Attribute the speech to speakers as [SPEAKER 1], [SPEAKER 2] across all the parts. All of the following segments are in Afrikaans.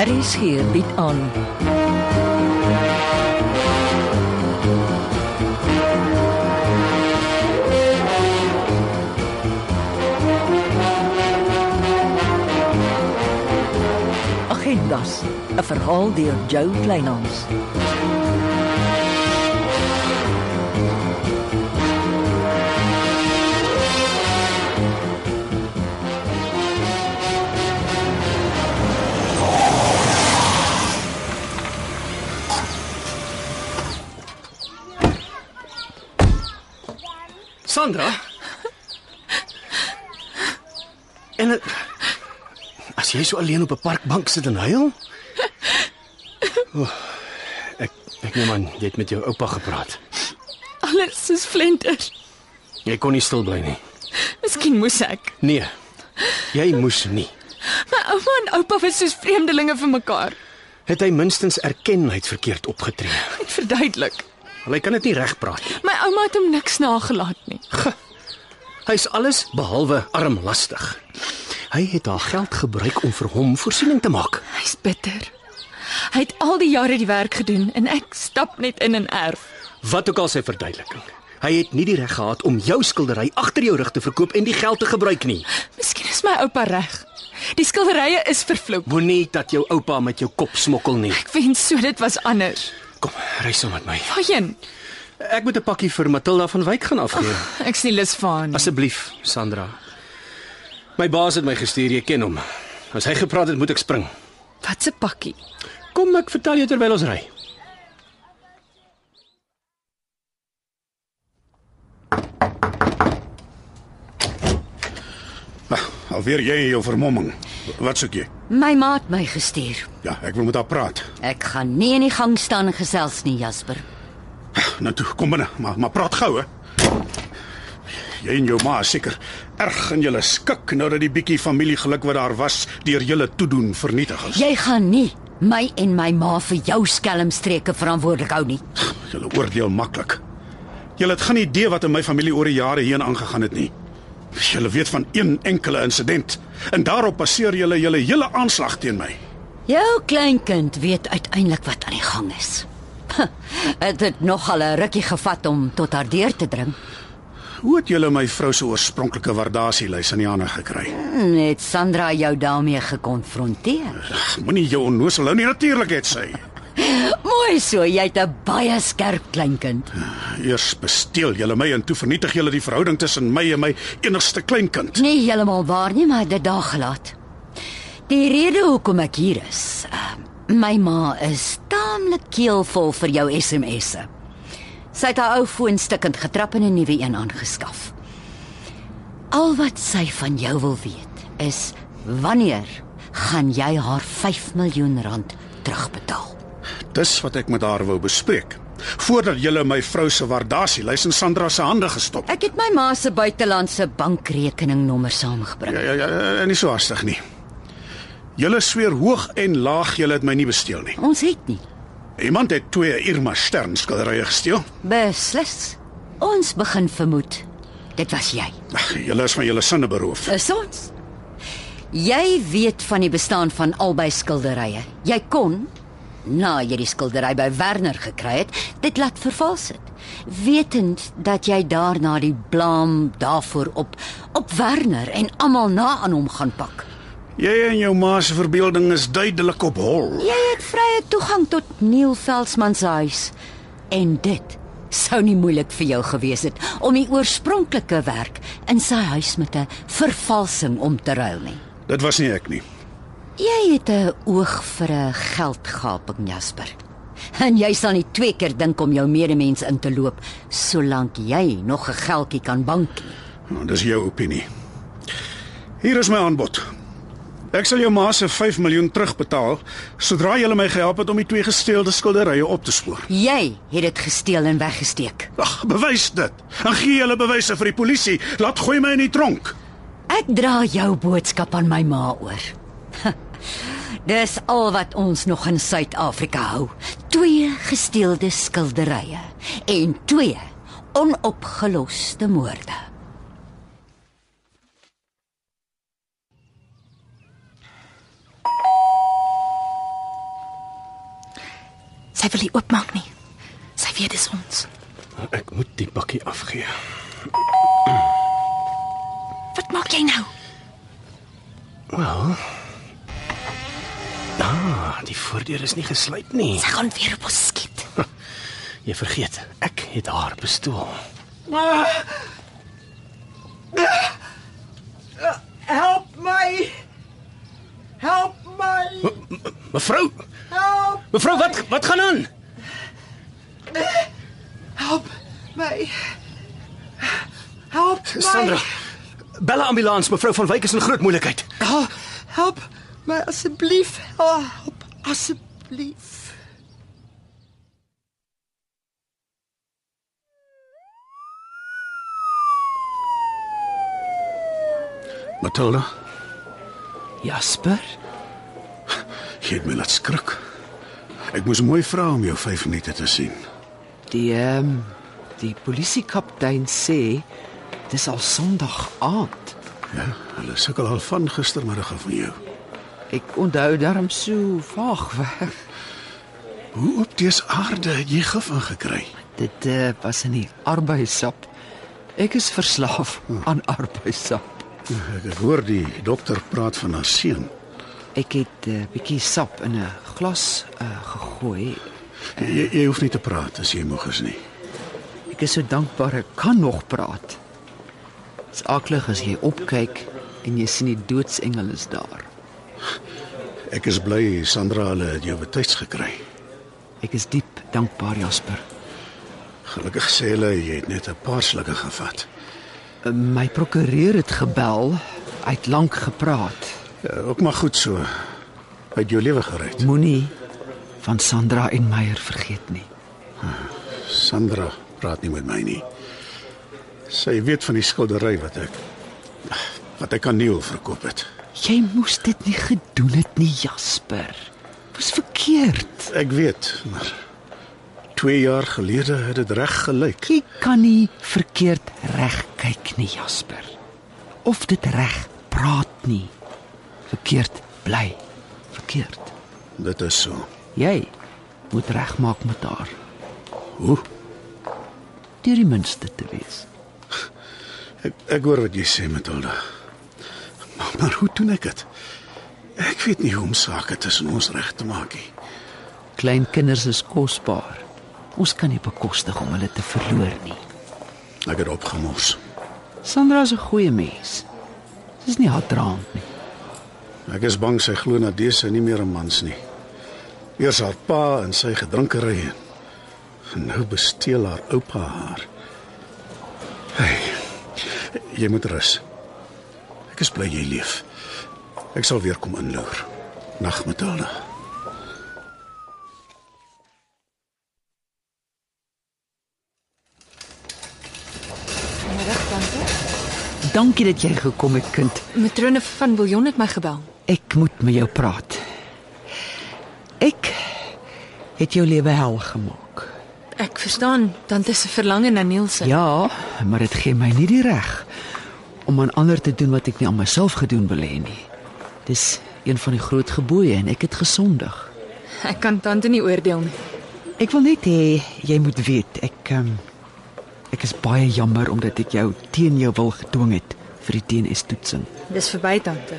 [SPEAKER 1] Aries hier bied aan. Agendas, 'n verhaal deur Jo Kleinhans.
[SPEAKER 2] Sandra. En het, as jy so alleen op 'n parkbank sit en huil? Oh, ek ek neem aan jy het met jou oupa gepraat.
[SPEAKER 3] Alles is flenter.
[SPEAKER 2] Jy kon nie stil bly nie.
[SPEAKER 3] Miskien moes ek.
[SPEAKER 2] Nee. Jy moes nie.
[SPEAKER 3] My ouma en oupa was soos vreemdelinge vir mekaar.
[SPEAKER 2] Het hy minstens erken hy het verkeerd opgetree.
[SPEAKER 3] Ek verduidelik.
[SPEAKER 2] Wel, Hy kan dit nie regpraat nie.
[SPEAKER 3] My ouma het hom niks nagelaat nie.
[SPEAKER 2] Hy's alles behalwe armlastig. Hy het haar geld gebruik om vir hom voorsiening te maak.
[SPEAKER 3] Hy's bitter. Hy het al die jare die werk gedoen en ek stap net in en erf.
[SPEAKER 2] Wat ook al sy verduideliking. Hy het nie die reg gehad om jou skildery agter jou rug te verkoop en die geld te gebruik nie.
[SPEAKER 3] Miskien is my oupa reg. Die skilderye is vervloek.
[SPEAKER 2] Moenie dat jou oupa met jou kop smokkel nie.
[SPEAKER 3] Ek wens so dit was anders.
[SPEAKER 2] Kom, ry saam met my.
[SPEAKER 3] Waarheen?
[SPEAKER 2] Ek moet 'n pakkie vir Matilda van Wyk gaan afgee.
[SPEAKER 3] Ek's nie lus vir haar nie.
[SPEAKER 2] Asseblief, Sandra. My baas het my gestuur, jy ken hom. As hy gepraat het, moet ek spring.
[SPEAKER 3] Wat 'n pakkie.
[SPEAKER 2] Kom ek vertel jou terwyl ons ry.
[SPEAKER 4] Ah, alweer jy en jou vermomming. Wat soek jy?
[SPEAKER 5] My ma het my gestuur.
[SPEAKER 4] Ja, ek wil met haar praat.
[SPEAKER 5] Ek gaan nie in die gang staan en gesels nie, Jasper.
[SPEAKER 4] Nou toe, kom binne, maar maar praat gou hè. Jy en jou ma is seker erg in julle skik nou dat die bietjie familiegeluk wat daar was deur julle toedoen vernietig is.
[SPEAKER 5] Jy gaan nie my en my ma vir jou skelmstreke verantwoordelik hou nie.
[SPEAKER 4] Julle oordeel maklik. Julle het geen idee wat in my familie oor die jare heen aangegaan het nie. Julle weet van een enkele insident en daarop baseer julle julle hele aanslag teen my.
[SPEAKER 5] Jou kleinkind weet uiteindelik wat aan die gang is. Het het nogal 'n rukkie gevat om tot haar deur te dring.
[SPEAKER 4] Hoe het julle my vrou se oorspronklike waardasielys in die hande gekry?
[SPEAKER 5] Net Sandra jou daarmee gekonfronteer.
[SPEAKER 4] Ag, Moenie jou onnosel hou nie, natuurlik het sy.
[SPEAKER 5] Mooi so, jy het 'n baie skerp kleinkind.
[SPEAKER 4] Eers besteel julle my en toe vernietig julle die verhouding tussen my en my enigste kleinkind.
[SPEAKER 5] Nee, heeltemal waar nie, maar ek het dit daar gelaat. Die rede hoekom ek hier is. Uh, my ma is taamlik keelvol vir jou SMS'e. Sy het haar ou foon stikkend getrap en 'n nuwe een aangeskaf. Al wat sy van jou wil weet is wanneer gaan jy haar 5 miljoen rand terugbetaal?
[SPEAKER 4] Dis wat ek met haar wou bespreek. Voordat julle my vrou se waardasielys in Sandra se hande gestop.
[SPEAKER 5] Ek het my ma se buitelandse bankrekeningnommer saamgebring.
[SPEAKER 4] Ja ja ja, en nie so hastig nie. Julle sweer hoog en laag julle het my nie besteel nie.
[SPEAKER 5] Ons het nie.
[SPEAKER 4] Iemand het twee Irma Stern skilderye gesteel.
[SPEAKER 5] Beslis. Ons begin vermoed dit was jy.
[SPEAKER 4] Ag, julle is van julle sinne beroof.
[SPEAKER 5] Is ons? Jy weet van die bestaan van albei skilderye. Jy kon na jy die skildery by Werner gekry het, dit laat vervals het, wetend dat jy daarna die blaam daarvoor op op Werner en almal na aan hom gaan pak.
[SPEAKER 4] Jy en jou ma se verbeelding is duidelik op hol.
[SPEAKER 5] Jy het vrye toegang tot Neil Veldsmann se huis en dit sou nie moeilik vir jou gewees het om die oorspronklike werk in sy huis met 'n vervalsing om te ruil nie.
[SPEAKER 4] Dit was nie ek nie.
[SPEAKER 5] Jy het 'n oog vir 'n geldgaping, Jasper. En jy sal nie twee keer dink om jou medemens in te loop solank jy nog 'n geldjie kan bank nie.
[SPEAKER 4] Nou, dis jou opinie. Hier is my aanbod. Ek sal jou ma se 5 miljoen terugbetaal sodra jy my gehelp het om die twee gesteelde skilderye op te spoor.
[SPEAKER 5] Jy het dit gesteel en weggesteek.
[SPEAKER 4] Ag, bewys dit. En gee julle bewyse vir die polisie. Laat gooi my in die tronk.
[SPEAKER 5] Ek dra jou boodskap aan my ma oor. Dis al wat ons nog in Suid-Afrika hou. Twee gesteelde skilderye en twee onopgeloste moorde.
[SPEAKER 6] wil nie oopmaak nie. Sy weet dis ons.
[SPEAKER 2] Ek moet die pakkie afgee.
[SPEAKER 6] Wat maak jy nou?
[SPEAKER 2] Wel. Ah, die voordeur is nie gesluit nie.
[SPEAKER 6] Sy gaan weer op ons skiet.
[SPEAKER 2] Jy vergeet, ek het haar pistool.
[SPEAKER 7] Help my! Help my!
[SPEAKER 2] Mevrou,
[SPEAKER 7] Help!
[SPEAKER 2] mevrou, wat wat gaan aan?
[SPEAKER 7] Help my! Help my!
[SPEAKER 2] Sandra, bel 'n ambulans, mevrou van Wyk is in groot moeilikheid.
[SPEAKER 7] Help, help my asseblief. Help asseblief.
[SPEAKER 4] Matilda,
[SPEAKER 8] Jasper,
[SPEAKER 4] jy het my laat skrik. Ek moes mooi vra om jou 5 minute te sien.
[SPEAKER 8] die ehm die polisiekaptein sê dis al Sondag aand.
[SPEAKER 4] Ja, hulle sukkel al van gistermiddag af van jou.
[SPEAKER 8] Ek onthou darm so vaag. weg.
[SPEAKER 4] Hoe op dese aarde het jy gif ingekry?
[SPEAKER 8] Dit uh, was in die arbeidsap. Ek is verslaaf aan arbeidsap.
[SPEAKER 4] Ek ek hoor die dokter praat van haar seun.
[SPEAKER 8] Ek het 'n uh, bietjie sap in 'n glas uh, gegooi.
[SPEAKER 4] Jy, jy hoef nie te praat as jy moeg is nie.
[SPEAKER 8] Ek is so dankbaar ek kan nog praat. Dit's aklig as jy opkyk en jy sien die doodsengel is daar.
[SPEAKER 4] Ek is bly Sandra hulle het jou betyds gekry.
[SPEAKER 8] Ek is diep dankbaar Jasper.
[SPEAKER 4] Gelukkig sê hulle jy het net 'n paar slukke gevat.
[SPEAKER 8] Eh, My prokureur het gebel. Hy het lank gepraat.
[SPEAKER 4] Ja, ook maar goed so. Uit jou lewe gered.
[SPEAKER 8] Moenie van Sandra en Meyer vergeet nie.
[SPEAKER 4] Sandra praat nie met my nie. Sy weet van die skildery wat ek wat ek aan Neil verkoop het.
[SPEAKER 8] Jy moes dit nie gedoen het nie, Jasper. Dis verkeerd.
[SPEAKER 4] Ek weet, maar 2 jaar gelede het dit reg gelyk.
[SPEAKER 8] Jy kan nie verkeerd reg kyk nie, Jasper. Of dit reg praat nie. Verkeerd bly. Verkeerd.
[SPEAKER 4] Dit is so.
[SPEAKER 8] Jy moet regmaak met haar.
[SPEAKER 4] Hoe?
[SPEAKER 8] Deur die minste te wees.
[SPEAKER 4] Ek ek hoor wat jy sê, Matilda. Maar, maar hoe doen ek dit? Ek weet nie hoe om sake tussen ons reg te maak nie.
[SPEAKER 8] Klein kinders is kosbaar. Ons kan nie bekostig om hulle te verloor nie.
[SPEAKER 4] Ek het opgemors.
[SPEAKER 8] Sandra is 'n goeie mens. Sy is nie haatdraand nie.
[SPEAKER 4] Ek is bang sy glo dat dese nie meer 'n mans nie. Eers haar pa en sy gedrinkerye. En nou besteel haar oupa haar. Hey. Jy moet rus. Ek is bly jy leef. Ek sal weer kom inloer. Nag, Matilda.
[SPEAKER 8] Dankie dat jy gekom het, kind.
[SPEAKER 6] Matrone van Biljon het my gebel.
[SPEAKER 8] Ek moet met jou praat. Ek het jou lewe hel gemaak.
[SPEAKER 6] Ek verstaan, dan is 'n verlange na Nielsen.
[SPEAKER 8] Ja, maar dit gee my nie die reg om aan ander te doen wat ek nie aan myself gedoen wil hê nie. Dis een van die groot gebooie en ek het gesondig.
[SPEAKER 6] Ek kan tante nie oordeel nie.
[SPEAKER 8] Ek wil net hê jy moet weet ek um, ek is baie jammer omdat ek jou teen jou wil gedwing het vir die DNS toetsing.
[SPEAKER 6] Dis verby tante.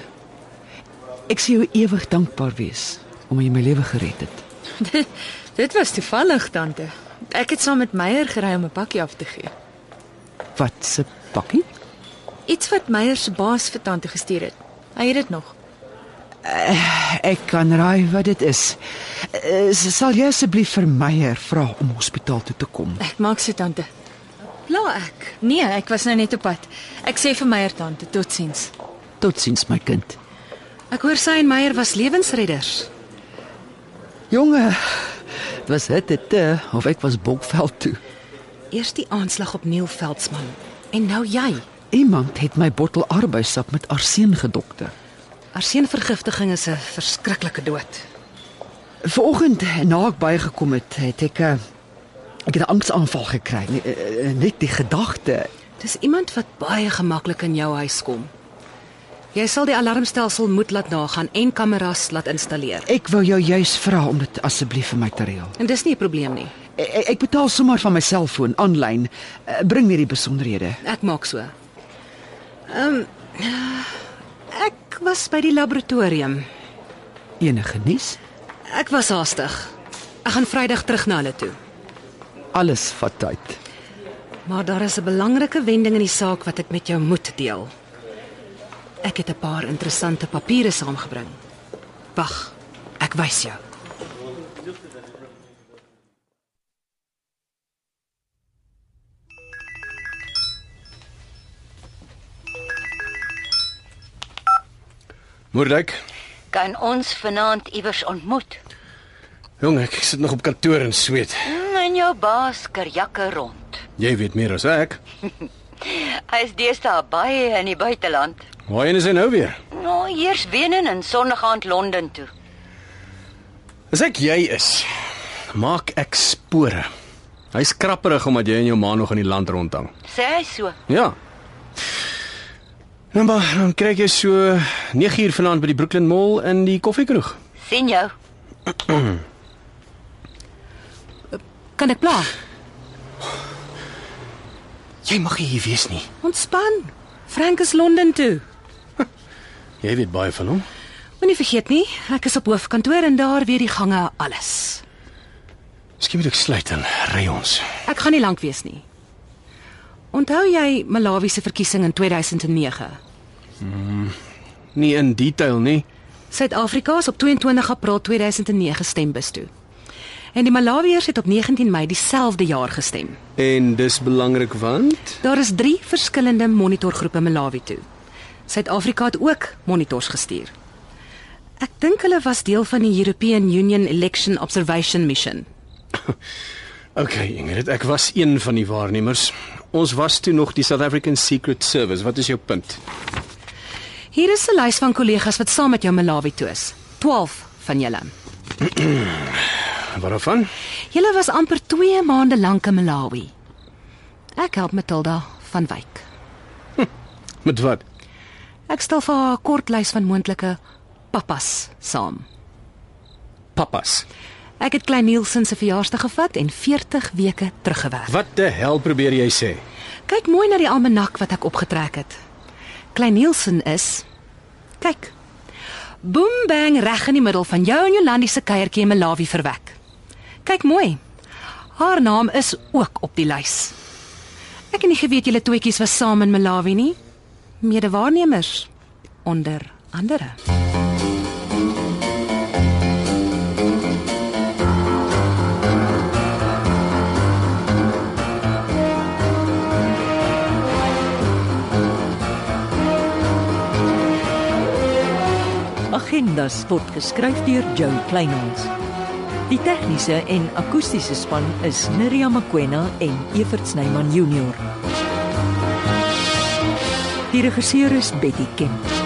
[SPEAKER 8] Ek sê jou ewig dankbaar wees om jy my lewe gered het.
[SPEAKER 6] Dit was toevallig tante. Ek het saam met Meyer gery om 'n pakkie af te gee.
[SPEAKER 8] Wat se pakkie?
[SPEAKER 6] Iets wat Meyer se baas vir tante gestuur het. Hy het dit nog.
[SPEAKER 8] Ek kan raai wat dit is. Eh, Sal jy asseblief vir Meyer vra om hospitaal toe te kom?
[SPEAKER 6] Ek maak se tante. Bla ek. Nee, ek was nou net op pad. Ek sê vir Meyer tante, totsiens.
[SPEAKER 8] Totsiens my kind.
[SPEAKER 6] Ek hoor sy en Meyer was lewensredders.
[SPEAKER 8] Jonge, dit was hitte te of ek was Bokveld toe.
[SPEAKER 6] Eers die aanslag op Neil Veldsmann en nou jy.
[SPEAKER 8] Iemand het my bottel arbeidsap met arseen gedokter.
[SPEAKER 6] Arseenvergiftiging is 'n verskriklike dood.
[SPEAKER 8] Vanoggend na ek bygekom het, het ek 'n ek het 'n angsaanval gekry. Nee, eh, eh, Net die gedagte,
[SPEAKER 6] Dis iemand wat baie gemaklik in jou huis kom. Jy sal die alarmstelsel moet laat nagaan en kameras laat installeer.
[SPEAKER 8] Ek wou jou juis vra om dit asseblief vir my te reël.
[SPEAKER 6] En dis nie 'n probleem nie.
[SPEAKER 8] E, Ek, ek betaal sommer van my selfoon aanlyn. Eh, Bring net die besonderhede.
[SPEAKER 6] Ek maak so. Ehm ek was by die laboratorium.
[SPEAKER 8] Enige nuus?
[SPEAKER 6] Ek was haastig. Ek gaan Vrydag terug na hulle toe.
[SPEAKER 8] Alles vat tyd.
[SPEAKER 6] Maar daar is 'n belangrike wending in die saak wat ek met jou moet deel. Ek het 'n paar interessante papiere saamgebring. Wag, ek wys jou.
[SPEAKER 2] Moerdijk,
[SPEAKER 5] Kan ons vanaand iewers ontmoet?
[SPEAKER 2] jong, ek sit nog op kantoor en sweet.
[SPEAKER 5] Mm, En jou baas kerjakke rond.
[SPEAKER 2] Jy weet meer as ek.
[SPEAKER 5] Hy is deesdae baie in die buiteland.
[SPEAKER 2] Waarheen is hy nou weer?
[SPEAKER 5] Nou, eers Wenen en Sondag aand Londen toe.
[SPEAKER 2] As ek jy is, maak ek spore. Hy's krapperig omdat jy en jou ma nog in die land rondhang.
[SPEAKER 5] Sê hy so.
[SPEAKER 2] Ja. Nou maar, dan kry ek jou so 9 uur vanaand by die Brooklyn Mall in die koffiekroeg.
[SPEAKER 5] sien jou.
[SPEAKER 6] Kan ek pla?
[SPEAKER 2] Jy mag nie hier wees nie.
[SPEAKER 6] Ontspan. Frank is Londen toe.
[SPEAKER 2] Jy weet baie van hom.
[SPEAKER 6] Moenie vergeet nie, ek is op hoofkantoor en daar weet die gange alles.
[SPEAKER 2] Miskien moet ek sluit en ry ons.
[SPEAKER 6] Ek gaan nie lank wees nie. Onthou jy Malawi se verkiesing in 2009?
[SPEAKER 2] Nie in detail nie.
[SPEAKER 6] Suid-Afrika is op 22 April 2009 stembus toe. En die Malawiërs het op 19 Mei dieselfde jaar gestem.
[SPEAKER 2] En dis belangrik want
[SPEAKER 6] Daar is 3 verskillende monitorgroepe Malawi toe. Suid-Afrika het ook monitors gestuur. Ek dink hulle was deel van die European Union Election Observation Mission.
[SPEAKER 2] Okay, Ingrid, ek was een van die waarnemers. Ons was toe nog die South African Secret Service. Wat is jou punt?
[SPEAKER 6] Hier is 'n lys van kollegas wat saam met jou Malawi toe is. 12 van julle.
[SPEAKER 2] Waarvan?
[SPEAKER 6] Julle was amper 2 maande lank in Malawi. Ek help Matilda van Wyk.
[SPEAKER 2] Met wat?
[SPEAKER 6] Ek stel vir haar 'n kort lys van moontlike papas saam.
[SPEAKER 2] Papas.
[SPEAKER 6] Ek het Klein Nielsen se verjaarsdag gevat en 40 weke teruggewerk.
[SPEAKER 2] Wat die hel probeer jy sê?
[SPEAKER 6] Kyk mooi na die almanak wat ek opgetrek het. Klein Nielsen is kyk. Boom bang reg in die middel van jou en Jolandi se kuiertjie in Malawi verwek. Kyk mooi. Haar naam is ook op die lys. Ek het nie geweet julle toetjies was saam in Malawi nie. Mede-waarnemers onder andere.
[SPEAKER 1] Agendas word geskryf deur Jo Kleinhans. Die tegniese en akoestiese span is Neriya Mkwena en Evert Snyman Junior. Die regisseur is Betty Kemp.